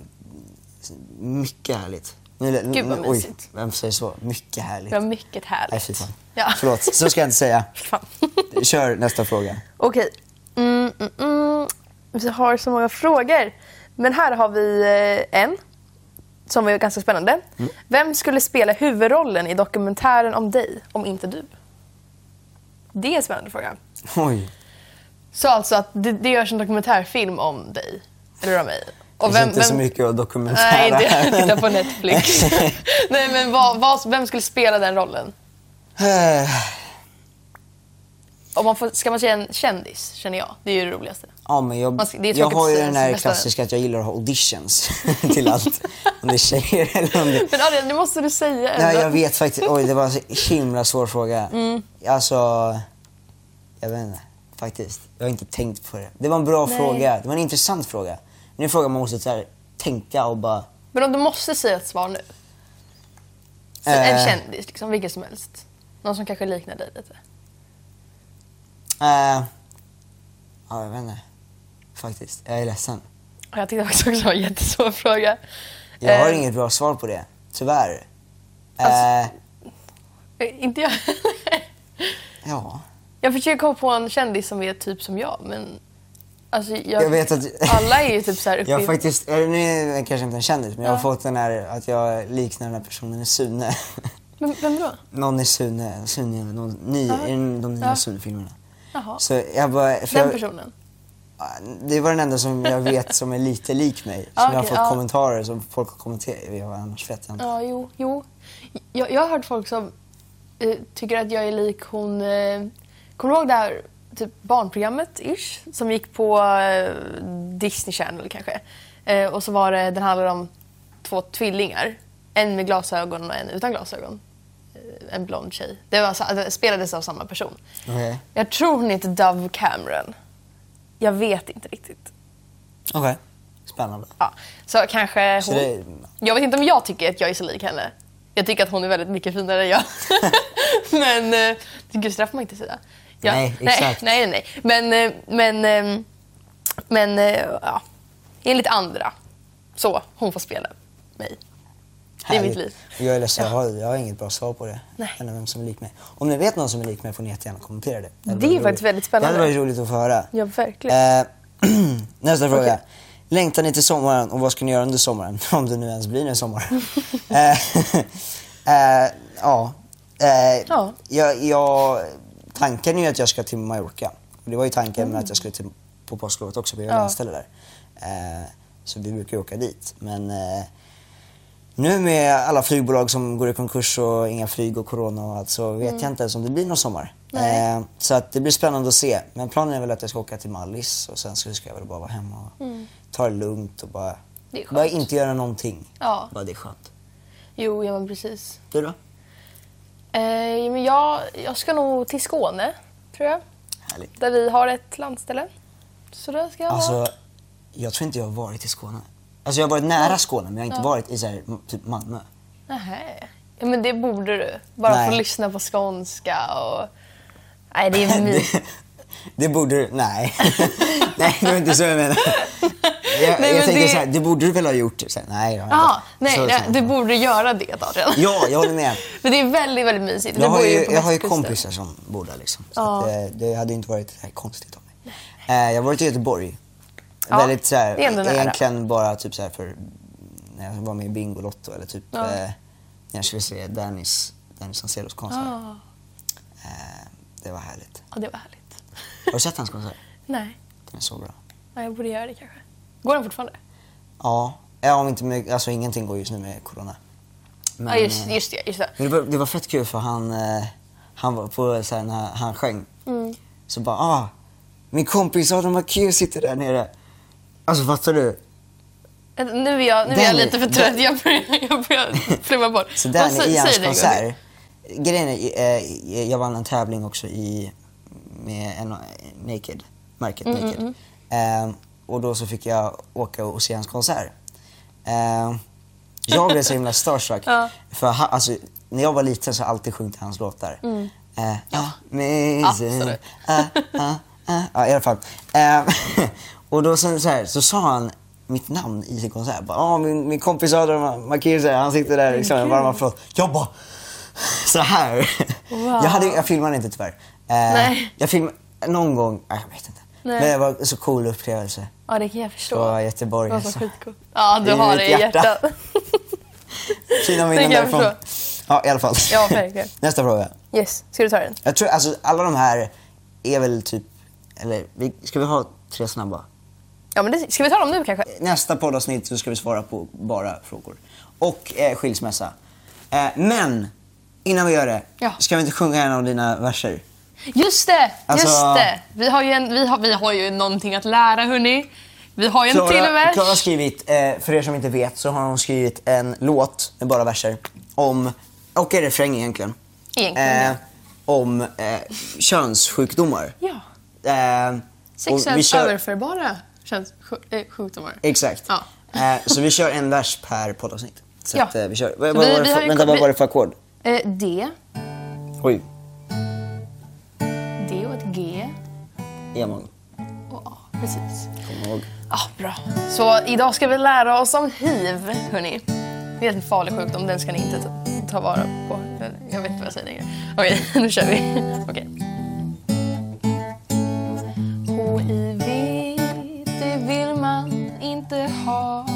Speaker 1: mycket härligt. Nu, nu-
Speaker 2: Gud, vad
Speaker 1: nu-
Speaker 2: mysigt.
Speaker 1: Oj, vem säger så? Mycket härligt.
Speaker 2: Det var mycket härligt.
Speaker 1: Nej, fy fan.
Speaker 2: Ja.
Speaker 1: Förlåt, så ska jag inte säga.
Speaker 2: Fan.
Speaker 1: Kör nästa fråga.
Speaker 2: Okej. Mm, mm, mm. Vi har så många frågor. Men här har vi eh, en som var ganska spännande.
Speaker 1: Mm.
Speaker 2: Vem skulle spela huvudrollen i dokumentären om dig, om inte du? Det är en spännande fråga.
Speaker 1: Oj.
Speaker 2: Så alltså att det, det görs en dokumentärfilm om dig, eller om mig.
Speaker 1: Det
Speaker 2: Och
Speaker 1: finns inte så mycket att dokumentera
Speaker 2: Nej,
Speaker 1: här,
Speaker 2: det,
Speaker 1: men-
Speaker 2: titta på Netflix. Nej, men vad, vad, vem skulle spela den rollen?
Speaker 1: Eh,
Speaker 2: Om man får, ska man säga en kändis, känner jag. Det är ju det roligaste.
Speaker 1: Ja, men jag,
Speaker 2: Man ska- det är
Speaker 1: jag
Speaker 2: tråkigt
Speaker 1: har ju
Speaker 2: att säga
Speaker 1: den
Speaker 2: som
Speaker 1: här
Speaker 2: bästa
Speaker 1: klassiska att jag gillar att ha auditions till allt. om det är tjejer eller om det
Speaker 2: Men Adrian, nu måste du säga
Speaker 1: Nej,
Speaker 2: ändå.
Speaker 1: jag vet faktiskt. Oj, det var en så himla svår fråga.
Speaker 2: Mm.
Speaker 1: Alltså, jag vet inte. Faktiskt. Jag har inte tänkt på det. Det var en bra
Speaker 2: Nej.
Speaker 1: fråga. Det var en intressant fråga. Det är en fråga man måste så här, tänka och bara...
Speaker 2: Men om du måste säga ett svar nu. Så
Speaker 1: Eh.
Speaker 2: En kändis, liksom, vilken som helst. Någon som kanske liknar dig lite.
Speaker 1: eh, ja, jag vet inte. Faktiskt. Jag är ledsen.
Speaker 2: Och Jag tyckte också att det var en jättesvår fråga.
Speaker 1: Jag har
Speaker 2: Eh,
Speaker 1: inget bra svar på det. Tyvärr.
Speaker 2: Alltså-
Speaker 1: eh,
Speaker 2: eh, Inte jag
Speaker 1: ja.
Speaker 2: Jag försöker komma på en kändis som är typ som jag, men... Alltså, jag,
Speaker 1: Jag vet att-
Speaker 2: Alla är ju typ så här uppe
Speaker 1: Jag
Speaker 2: i-
Speaker 1: har faktiskt, eller nu är jag kanske inte en kändis, men jag har
Speaker 2: Ja.
Speaker 1: fått den här att jag liknar den här personen i Sune.
Speaker 2: Men vem då?
Speaker 1: någon i Sune, Sune, någon ny,
Speaker 2: Ja.
Speaker 1: i den- de nya
Speaker 2: Ja.
Speaker 1: Sune-filmerna.
Speaker 2: Jaha.
Speaker 1: Så jag bara, för
Speaker 2: Den
Speaker 1: jag, ah,
Speaker 2: personen?
Speaker 1: det var den enda som jag vet som är lite lik mig. Som
Speaker 2: Ja,
Speaker 1: jag har
Speaker 2: okej,
Speaker 1: fått
Speaker 2: ja.
Speaker 1: kommentarer som folk har kommenterat. Jag, annars vet jag inte.
Speaker 2: Ja, jo. jo. Jag, jag har hört folk som eh, tycker att jag är lik hon... Eh, kommer du ihåg det här typ barnprogrammet-ish? Som gick på eh, Disney Channel kanske. Eh, och så var det, den handlade om två tvillingar. En med glasögon och en utan glasögon. Eh, en blond tjej. Det, var, sa- det spelades av samma person.
Speaker 1: Okej.
Speaker 2: Jag tror hon heter Dove Cameron. Jag vet inte riktigt.
Speaker 1: Okej. Spännande.
Speaker 2: Ja, så kanske hon...
Speaker 1: Så det,
Speaker 2: Jag vet inte om jag tycker att jag är så lik henne. Jag tycker att hon är väldigt mycket finare än jag. men eh, gud, så där får man inte säga. Ja,
Speaker 1: Nej, exakt.
Speaker 2: Nej, nej, nej. Men, eh, men, eh, men eh, ja. enligt andra. Så, hon får spela mig. är mitt liv.
Speaker 1: Jag är ledsen, jag, har, jag har inget bra svar på det.
Speaker 2: Nej.
Speaker 1: Eller vem som är lik mig. Om ni vet någon som är lik mig får ni jättegärna kommentera det. hade
Speaker 2: Det är
Speaker 1: varit
Speaker 2: faktiskt
Speaker 1: roligt.
Speaker 2: väldigt spännande.
Speaker 1: Det hade varit roligt att få höra.
Speaker 2: Ja, verkligen.
Speaker 1: Eh, nästa fråga. Längtar ni till sommaren och vad ska ni göra under sommaren? Om det nu ens blir en sommar. eh, eh, ja. Eh,
Speaker 2: Ja.
Speaker 1: Jag, jag, tanken är ju att jag ska till Mallorca. Och det var ju tanken med att jag skulle till, på påsklovet också, för jag
Speaker 2: Mm. Ja.
Speaker 1: landställe där. Eh, så vi brukar ju åka dit. Men eh, nu med alla flygbolag som går i konkurs och inga flyg och corona och allt så vet jag inte ens om det blir någon sommar.
Speaker 2: Mm. Nej.
Speaker 1: Eh, så att det blir spännande att se. Men planen är väl att jag ska åka till Mallis och sen så ska jag väl bara vara hemma och ta det lugnt och bara,
Speaker 2: Mm. Det är skönt.
Speaker 1: bara inte göra någonting.
Speaker 2: Ja.
Speaker 1: Bara det är skönt.
Speaker 2: Jo, ja, men precis.
Speaker 1: Du då?
Speaker 2: Eh, men jag, jag ska nog till Skåne, tror jag.
Speaker 1: Härligt.
Speaker 2: Där vi har ett landställe. Så där ska jag vara.
Speaker 1: Alltså, jag tror inte jag har varit i Skåne. Alltså jag har varit nära Skåne men jag har inte
Speaker 2: Ja.
Speaker 1: varit i så här, m- typ Malmö.
Speaker 2: Nähä. Ja, men det borde du. Bara
Speaker 1: Nej.
Speaker 2: få lyssna på skånska och... Nej, det är mysigt.
Speaker 1: Det, det borde du... Nej. nej, det var inte så jag menade. Jag,
Speaker 2: Nej,
Speaker 1: jag
Speaker 2: men
Speaker 1: tänker
Speaker 2: det-
Speaker 1: så här, det borde du väl ha gjort? Så här, nej, jag har
Speaker 2: Jaha,
Speaker 1: inte.
Speaker 2: nej,
Speaker 1: Så-
Speaker 2: nej,
Speaker 1: så-
Speaker 2: du borde göra det Adrian.
Speaker 1: Ja, jag håller med.
Speaker 2: Men det är väldigt, väldigt mysigt. Vi
Speaker 1: Jag har
Speaker 2: bor
Speaker 1: ju,
Speaker 2: på
Speaker 1: jag har ju
Speaker 2: västkusten.
Speaker 1: kompisar som bor där liksom. Så
Speaker 2: Ja.
Speaker 1: att, eh, det hade ju inte varit så här konstigt av mig. Eh, jag har varit i Göteborg.
Speaker 2: Ja,
Speaker 1: Väldigt så här,
Speaker 2: det är ändå nära.
Speaker 1: egentligen bara typ så här för när jag var med i Bingolotto eller typ
Speaker 2: Ja.
Speaker 1: eh, när jag skulle se Dennis, Dennis Ancelos konsert.
Speaker 2: Ja,
Speaker 1: Eh, det var härligt.
Speaker 2: Ah, ja, det var härligt.
Speaker 1: Har du sett hans konsert?
Speaker 2: nej,
Speaker 1: Den är så bra.
Speaker 2: ja, jag borde göra det kanske. Går den fortfarande?
Speaker 1: Ja, ja om inte med, alltså ingenting går just nu med corona. Men,
Speaker 2: ja, just,
Speaker 1: eh,
Speaker 2: just det. Just det.
Speaker 1: Men det, var, det var fett kul för han, eh, han var på så här, när han sjöng.
Speaker 2: Mm.
Speaker 1: Så bara, ah, min kompis Adam McHugh sitter där nere. Alltså fattar du?
Speaker 2: Nu är jag, nu är jag
Speaker 1: Danny,
Speaker 2: lite för trött. Jag börjar, jag börjar flimma bort.
Speaker 1: Så
Speaker 2: Vad
Speaker 1: Danny
Speaker 2: sä-
Speaker 1: i
Speaker 2: säg
Speaker 1: hans
Speaker 2: det en gång till.
Speaker 1: konsert. Grejen är, eh, jag vann en tävling också i, med en, Naked, märket
Speaker 2: Mm,
Speaker 1: Naked. Ehm, och då så fick jag åka och se hans konsert. Ehm, jag blev så himla starstruck.
Speaker 2: Ja.
Speaker 1: För ha, alltså, när jag var liten så har jag alltid sjungit hans låtar. Mm. amazing.
Speaker 2: Absolut.
Speaker 1: Ah, ah, ah. Ja, i alla fall. Ehm, och då sen så, här, så sa han mitt namn i sin konsert. Bara, "Ah, min, min kompis Adam Markéus, han sitter där liksom, en varm applåd. Jag bara, så här.
Speaker 2: Wow.
Speaker 1: Jag, hade, jag filmade inte tyvärr. Eh,
Speaker 2: Nej.
Speaker 1: Jag filmade någon gång, nej, jag vet inte.
Speaker 2: Nej.
Speaker 1: Men det var en så cool upplevelse.
Speaker 2: Ja, det kan jag förstå.
Speaker 1: På Göteborg.
Speaker 2: Det var så
Speaker 1: alltså.
Speaker 2: skitcoolt. Ja, du
Speaker 1: I
Speaker 2: har
Speaker 1: mitt
Speaker 2: det i hjärtat.
Speaker 1: hjärta. Fina minnen
Speaker 2: kan jag
Speaker 1: därifrån. Ja, i alla fall.
Speaker 2: Ja, verkligen.
Speaker 1: Nästa fråga.
Speaker 2: Yes, ska du ta den?
Speaker 1: Jag tror, alltså alla de här är väl typ, eller vi- ska vi ha tre snabba?
Speaker 2: Ja, men det, ska vi ta dem nu kanske?
Speaker 1: Nästa poddavsnitt så ska vi svara på bara frågor. Och eh, skilsmässa. Eh, men, innan vi gör det,
Speaker 2: Ja.
Speaker 1: ska vi inte sjunga en av dina verser?
Speaker 2: Just det!
Speaker 1: Alltså-
Speaker 2: Just det! Vi har, ju en, vi, har, vi har ju någonting att lära, hörni. Vi har ju en till
Speaker 1: Klara,
Speaker 2: vers.
Speaker 1: Klara har skrivit, eh, för er som inte vet, så har hon skrivit en låt med bara verser om, och en refräng egentligen. Eh,
Speaker 2: Egentligen, ja.
Speaker 1: Om eh, könssjukdomar.
Speaker 2: Ja.
Speaker 1: Eh, och vi
Speaker 2: Sexuellt
Speaker 1: kör-
Speaker 2: överförbara känns sj- eh, sjukdomar.
Speaker 1: Exakt.
Speaker 2: Ja.
Speaker 1: Eh, så vi kör en vers per poddavsnitt. Så
Speaker 2: Ja.
Speaker 1: att, eh, vi kör.
Speaker 2: Så
Speaker 1: Vad, vad
Speaker 2: vi-
Speaker 1: var det
Speaker 2: vi
Speaker 1: för,
Speaker 2: har ju-
Speaker 1: vänta, vad
Speaker 2: vi-
Speaker 1: var det för ackord?
Speaker 2: Eh, D,
Speaker 1: Oj,
Speaker 2: D och ett G
Speaker 1: E-moll.
Speaker 2: och A. Precis.
Speaker 1: Kom ihåg.
Speaker 2: Ja, Ah, bra. Så idag ska vi lära oss om hiv, hörni. Det är en farlig sjukdom, den ska ni inte ta- ta vara på. Jag vet inte vad jag säger längre. Okej, nu kör vi. Okej. HIV, det vill man inte ha.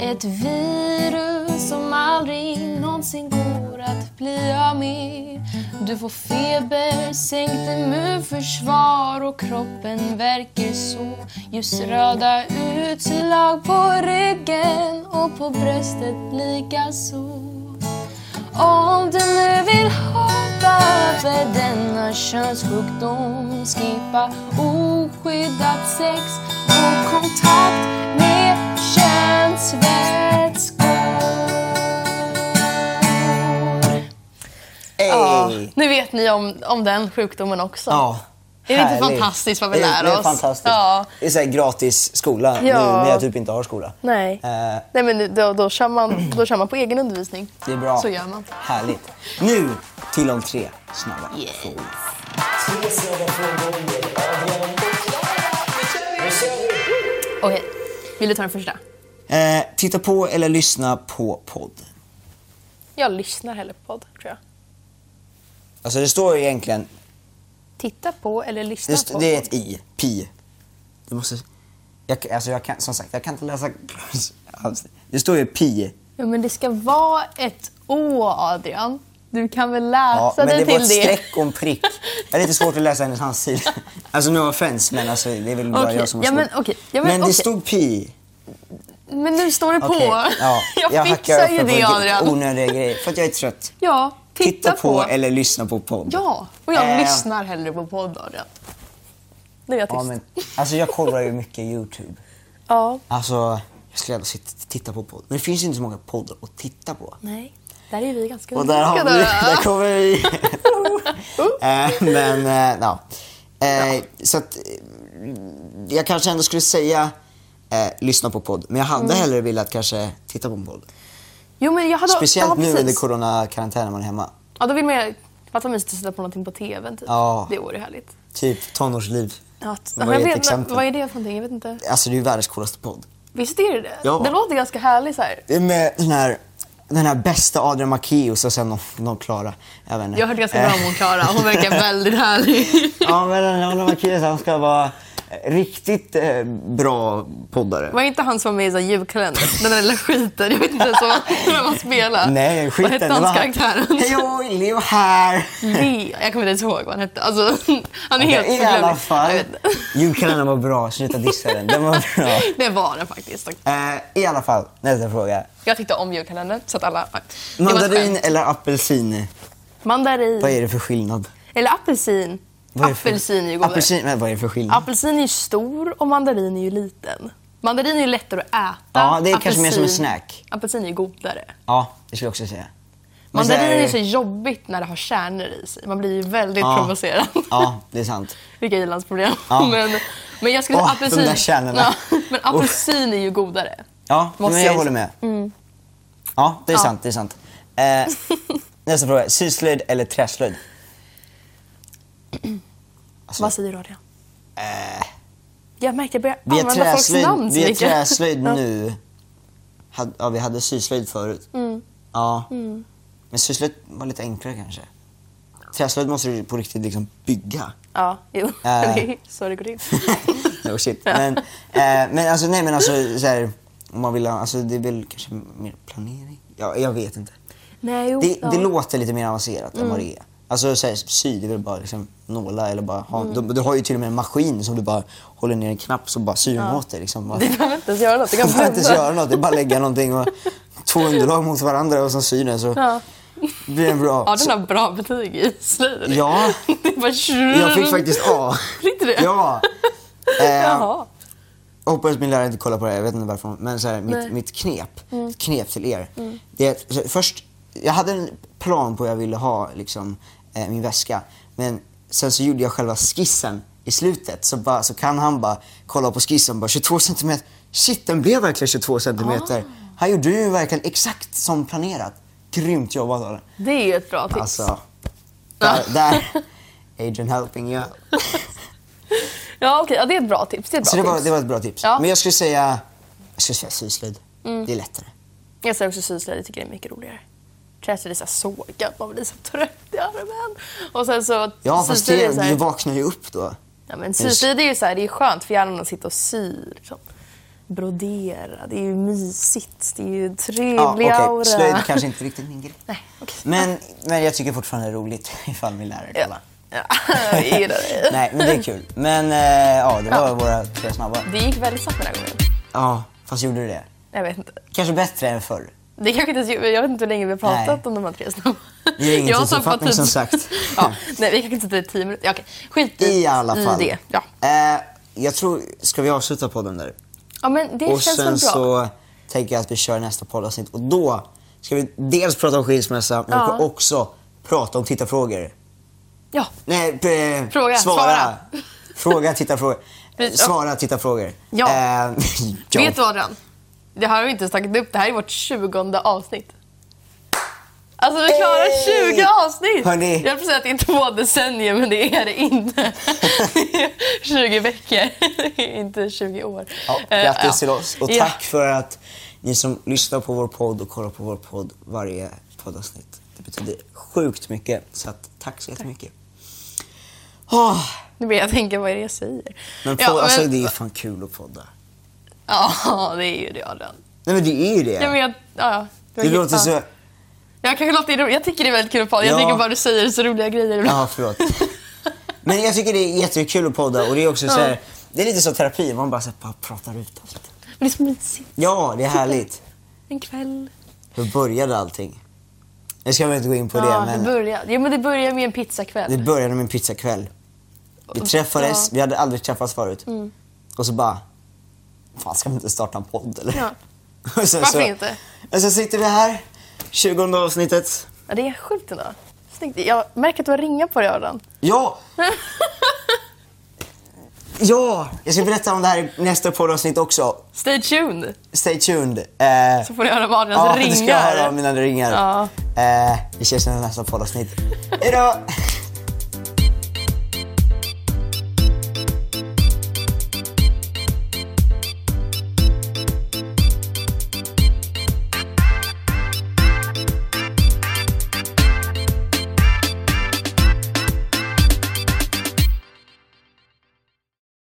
Speaker 2: Ett virus som aldrig någonsin går att bli av med. Du får feber, sänkt immunförsvar och kroppen verkar så. Just röda utslag på ryggen och på bröstet likaså. Om du nu vill hoppa över denna könssjukdom Skippa oskyddat sex och kontakt med könsvätskor
Speaker 1: Ey!
Speaker 2: Ja, nu vet ni om, om den sjukdomen också.
Speaker 1: Ja.
Speaker 2: Är det inte
Speaker 1: härligt.
Speaker 2: fantastiskt vad vi
Speaker 1: Det är-
Speaker 2: lär
Speaker 1: Det är
Speaker 2: oss?
Speaker 1: fantastiskt.
Speaker 2: Ja.
Speaker 1: Det är så här gratis skola nu
Speaker 2: Ja.
Speaker 1: när jag typ inte har skola.
Speaker 2: Nej.
Speaker 1: Eh,
Speaker 2: Nej men då, då, kör man, då kör man på egen undervisning.
Speaker 1: Det är bra.
Speaker 2: Så gör man.
Speaker 1: Härligt. Nu till de tre snabba
Speaker 2: Yes.
Speaker 1: frågorna.
Speaker 2: Okej, vill du ta den första?
Speaker 1: Eh, titta på eller lyssna på podd.
Speaker 2: Jag lyssnar hellre på podd tror jag.
Speaker 1: Alltså det står ju egentligen,
Speaker 2: Titta på eller lyssna
Speaker 1: det, st-
Speaker 2: på.
Speaker 1: det är ett i, pi. Du måste, jag, alltså jag kan, som sagt, jag kan inte läsa alls. Det står ju pi.
Speaker 2: Ja, men det ska vara ett Å, Adrian. Du kan väl läsa
Speaker 1: Ja, men
Speaker 2: dig
Speaker 1: det
Speaker 2: till
Speaker 1: var ett
Speaker 2: det?
Speaker 1: streck och en prick. Det är lite svårt att läsa hennes handstil. Alltså no offense, men alltså, det är väl bara
Speaker 2: Okej,
Speaker 1: jag som har
Speaker 2: ja, men
Speaker 1: svårt.
Speaker 2: okej, ja, men
Speaker 1: men det
Speaker 2: okej.
Speaker 1: stod pi.
Speaker 2: Men nu står det på.
Speaker 1: Okej, Ja,
Speaker 2: jag,
Speaker 1: hackar
Speaker 2: fixar
Speaker 1: upp mig
Speaker 2: ju
Speaker 1: på
Speaker 2: det,
Speaker 1: lite
Speaker 2: Adrian.
Speaker 1: Onödiga grejer, för att jag är trött.
Speaker 2: Ja, titta, på.
Speaker 1: eller lyssna på podd.
Speaker 2: Ja, och jag
Speaker 1: Eh.
Speaker 2: lyssnar hellre på podd, Adrian. Nu är jag tyst.
Speaker 1: Ja,
Speaker 2: Ja,
Speaker 1: men, alltså jag kollar ju mycket YouTube. Alltså, jag skulle gärna sitta, titta på podd. Men det finns ju inte så många poddar att titta på.
Speaker 2: nej. Där är vi ganska
Speaker 1: Och där har vi,
Speaker 2: olika, då.
Speaker 1: där kommer vi. Eh, men, eh, ja. Eh, Så att, eh, jag kanske ändå skulle säga eh, lyssna på podd. Men jag
Speaker 2: Mm.
Speaker 1: hade hellre velat kanske titta på en podd.
Speaker 2: Jo, men jag hade... ja,
Speaker 1: Speciellt nu
Speaker 2: precis.
Speaker 1: under coronakarantänen när man är hemma.
Speaker 2: Ja, då vill man ju... Fatta mysigt att sitta på någonting på tvn, typ.
Speaker 1: Ja.
Speaker 2: Det vore härligt.
Speaker 1: Typ tonårsliv.
Speaker 2: Ja, t-
Speaker 1: Vad
Speaker 2: jag
Speaker 1: är ett
Speaker 2: vet-
Speaker 1: exempel?
Speaker 2: Vad är det för någonting? Jag vet inte.
Speaker 1: Alltså det är ju världens coolaste podd.
Speaker 2: Visst är det det?
Speaker 1: Ja.
Speaker 2: Det låter ganska härligt så här.
Speaker 1: Det är med den här, den här bästa Adrian Macchius och sen någon, någon Klara. Jag, vet inte. Eh,
Speaker 2: Jag har hört ganska bra om hon Klara. Hon verkar väldigt härlig.
Speaker 1: ja, men den här Adrian Macchius han ska vara eh, riktigt eh, bra poddare.
Speaker 2: Var inte han som var med i så här julkalender? Den där lilla skiten. Jag vet inte ens vad vem han spelade.
Speaker 1: Nej, skiten.
Speaker 2: Vad hette
Speaker 1: det
Speaker 2: hans
Speaker 1: var-
Speaker 2: karaktär?
Speaker 1: Hej Leo här!
Speaker 2: Leo. Jag kommer inte ens ihåg vad han hette. Alltså, han är helt
Speaker 1: I alla fall.
Speaker 2: Jag vet inte.
Speaker 1: Julkalendern var bra, sluta dissa den. Den var bra.
Speaker 2: Det var den faktiskt.
Speaker 1: Eh, I alla fall, nästa fråga.
Speaker 2: Jag tyckte om julkalendern så att alla... Det var ett
Speaker 1: Mandarin
Speaker 2: skämt.
Speaker 1: eller apelsin? Vad
Speaker 2: Mandarin.
Speaker 1: är det för skillnad?
Speaker 2: Eller apelsin.
Speaker 1: Vad är det för-
Speaker 2: Apelsin är ju godare.
Speaker 1: Mm. Apelsin, men vad är det för skillnad?
Speaker 2: Apelsin är ju stor och mandarin är ju liten. Mandarin är ju lättare att äta.
Speaker 1: Ja, det är kanske mer som en snack.
Speaker 2: Apelsin är ju godare.
Speaker 1: Ja, det skulle jag också säga. Men så
Speaker 2: Mandarin
Speaker 1: här-
Speaker 2: är så jobbigt när det har kärnor i sig. Man blir ju väldigt
Speaker 1: Ja.
Speaker 2: provocerad.
Speaker 1: Ja, det är sant.
Speaker 2: Vilka i-landsproblem.
Speaker 1: Ja.
Speaker 2: Men, men jag skulle
Speaker 1: Åh,
Speaker 2: säga
Speaker 1: de
Speaker 2: apelsin.
Speaker 1: där kärnorna.
Speaker 2: men apelsin är ju godare.
Speaker 1: Ja,
Speaker 2: Måste
Speaker 1: men
Speaker 2: jag
Speaker 1: jag
Speaker 2: ju-
Speaker 1: håller med. Ja, det är
Speaker 2: Ja.
Speaker 1: sant. Det är sant. Eh, nästa fråga. Syslöjd eller träslöjd? Alltså,
Speaker 2: Vad säger du Adrian?
Speaker 1: Eh,
Speaker 2: Jag märkte att jag
Speaker 1: vi
Speaker 2: börjar
Speaker 1: är
Speaker 2: använda folks
Speaker 1: träslöjd,
Speaker 2: namn så
Speaker 1: vi är
Speaker 2: mycket.
Speaker 1: träslöjd
Speaker 2: Ja.
Speaker 1: nu. Had, ja, vi hade syslöjd förut.
Speaker 2: Mm.
Speaker 1: Ja. Men syslöjd var lite enklare kanske. Träslöjd måste du på riktigt liksom bygga.
Speaker 2: Ja, jo.
Speaker 1: Äh.
Speaker 2: det är så det går till.
Speaker 1: no shit. Men, eh, men alltså, nej men alltså så här, om man vill ha, alltså det är väl kanske mer planering? Ja, jag vet inte.
Speaker 2: Nej, jo,
Speaker 1: Det,
Speaker 2: ja. Mm.
Speaker 1: det låter lite mer avancerat än vad det är. Alltså så här, sy, det är väl bara liksom nåla eller bara ha,
Speaker 2: Mm.
Speaker 1: du, du har ju till och med en maskin som du bara håller ner en knapp så bara syr den åt dig. Liksom. Bara,
Speaker 2: Du behöver inte ens göra något. Du
Speaker 1: jag
Speaker 2: kan
Speaker 1: behöver inte ens
Speaker 2: blunda.
Speaker 1: göra något, det är bara att lägga någonting och två underlag mot varandra och sen sy den så
Speaker 2: Ja.
Speaker 1: blir den bra.
Speaker 2: Ja, den har bra betyg i slöjden.
Speaker 1: Alltså- Ja.
Speaker 2: Det är bara...
Speaker 1: jag fick faktiskt A.
Speaker 2: Fick du det?
Speaker 1: Ja. Eh,
Speaker 2: Jaha.
Speaker 1: Jag hoppas min lärare inte kollar på det här, jag vet inte varför. Men så här,
Speaker 2: Nej. Mm.
Speaker 1: mitt, mitt knep, ett knep till er. Det är, att- så, först, jag hade en plan på hur jag ville ha liksom, eh, min väska. Men sen så gjorde jag själva skissen i slutet. Så, bara, så kan han bara kolla på skissen och bara 22 centimeter. Shit, den blev verkligen 22 centimeter.
Speaker 2: Ah.
Speaker 1: Han gjorde ju verkligen exakt som planerat. Grymt jobbat Adam.
Speaker 2: Det är ju ett bra tips.
Speaker 1: Alltså, där, där. Adrian helping you. out.
Speaker 2: Ja, okej. Ja, det är ett bra tips. Det är ett bra
Speaker 1: Så det var,
Speaker 2: tips.
Speaker 1: det var ett bra tips.
Speaker 2: Ja. Mm.
Speaker 1: Men jag skulle säga, jag skulle säga syslöjd. Det är lättare.
Speaker 2: Jag säger också syslöjd. Jag tycker det är mycket roligare. Träslöjd är så här sågat. Man blir så trött i armen. Och sen så...
Speaker 1: Ja, fast
Speaker 2: syslöjd är så
Speaker 1: det,
Speaker 2: här-
Speaker 1: du vaknar ju upp då.
Speaker 2: Ja, men syslöjd är ju så här, det är ju skönt för hjärnan att sitta och sy. Liksom. Brodera, det är ju mysigt. Det är ju en trevlig
Speaker 1: Ja, okej.
Speaker 2: aura.
Speaker 1: Slöjd kanske inte riktigt min grej.
Speaker 2: Nej, okej.
Speaker 1: Men, men jag tycker fortfarande det är roligt ifall min lärare
Speaker 2: Ja.
Speaker 1: kollar.
Speaker 2: Ja, jag gillar det.
Speaker 1: Nej, men det är kul. Men eh, ja, det var våra tre snabba.
Speaker 2: Det gick väldigt snabbt den här gången.
Speaker 1: Ja, fast gjorde du det?
Speaker 2: Jag vet inte.
Speaker 1: Kanske bättre än förr.
Speaker 2: Det kanske inte, ens- jag vet inte hur länge vi har pratat
Speaker 1: Nej.
Speaker 2: om de här tre snabba.
Speaker 1: Det är ingen
Speaker 2: Jag har tappat
Speaker 1: tidsuppfattning,
Speaker 2: tid.
Speaker 1: som sagt.
Speaker 2: ja, nej, vi kanske inte i tio minuter. Ja, okej. Skit i,
Speaker 1: I alla fall.
Speaker 2: i det. Ja.
Speaker 1: Eh, jag tror, ska vi avsluta podden där?
Speaker 2: ja, men det
Speaker 1: Och
Speaker 2: känns väl bra.
Speaker 1: sen så tänker jag att vi kör nästa poddavsnitt och då ska vi dels prata om skilsmässa men vi
Speaker 2: Ja.
Speaker 1: ska också prata om tittarfrågor.
Speaker 2: Ja,
Speaker 1: Nej, p-
Speaker 2: Fråga,
Speaker 1: svara.
Speaker 2: svara.
Speaker 1: Fråga, titta frågor.
Speaker 2: Vi-
Speaker 1: Svara, titta frågor.
Speaker 2: Ja.
Speaker 1: Eh, ja.
Speaker 2: Vet du Adrian? Det här har vi inte ens tagit upp. Det här är vårt 20 avsnitt. Alltså vi klarar
Speaker 1: Hey!
Speaker 2: 20 avsnitt!
Speaker 1: Hörni.
Speaker 2: Jag höll på att säga att det är två decennier, men det är det inte. Det är 20 veckor, inte 20 år.
Speaker 1: Ja,
Speaker 2: Eh,
Speaker 1: grattis
Speaker 2: ja.
Speaker 1: till oss och
Speaker 2: Ja.
Speaker 1: tack för att ni som lyssnar på vår podd och kollar på vår podd varje poddavsnitt. Det betyder sjukt mycket, så att, tack så jättemycket. Åh,
Speaker 2: Nu börjar jag tänka, vad är det jag säger?
Speaker 1: men podd,
Speaker 2: ja, men-
Speaker 1: Alltså, det är ju fan kul att podda.
Speaker 2: ja, det är ju det Adrian.
Speaker 1: Nej men det är ju det.
Speaker 2: Jag vet, ja, ja. var
Speaker 1: det
Speaker 2: ju-
Speaker 1: låter
Speaker 2: ja.
Speaker 1: så...
Speaker 2: Jag kanske låter roligt. Jag tycker det är väldigt kul att prata. Jag
Speaker 1: Ja.
Speaker 2: tycker bara du säger så roliga grejer
Speaker 1: Ja, förlåt. Men jag tycker det är jättekul att podda och det är också så här,
Speaker 2: Ja.
Speaker 1: Det är lite som terapi, man bara, så här, bara pratar ut allt.
Speaker 2: Men det är så mysigt.
Speaker 1: Ja, det är härligt.
Speaker 2: En kväll.
Speaker 1: Hur började allting? Nu ska vi inte gå in på
Speaker 2: ja,
Speaker 1: det, men
Speaker 2: det börjar, ja, men det börjar med en pizzakväll.
Speaker 1: det började med en pizzakväll. Vi träffades,
Speaker 2: Ja. Mm.
Speaker 1: vi hade aldrig träffats förut. Och så bara, fan ska vi inte starta en podd eller?
Speaker 2: Ja.
Speaker 1: Och sen
Speaker 2: Varför inte?
Speaker 1: Och sen sitter vi här, 20 avsnittet.
Speaker 2: Ja, det är sjukt ändå. Snyggt. Jag märker att du har ringar på dig Adrian.
Speaker 1: Ja! ja! Jag ska berätta om det här i nästa poddavsnitt också.
Speaker 2: Stay tuned
Speaker 1: Stay tuned. Eh,
Speaker 2: så får ni höra om Adrians
Speaker 1: ja,
Speaker 2: ringar.
Speaker 1: du ska höra om mina ringar.
Speaker 2: Ja.
Speaker 1: Eh, vi ses i nästa poddavsnitt. Hejdå!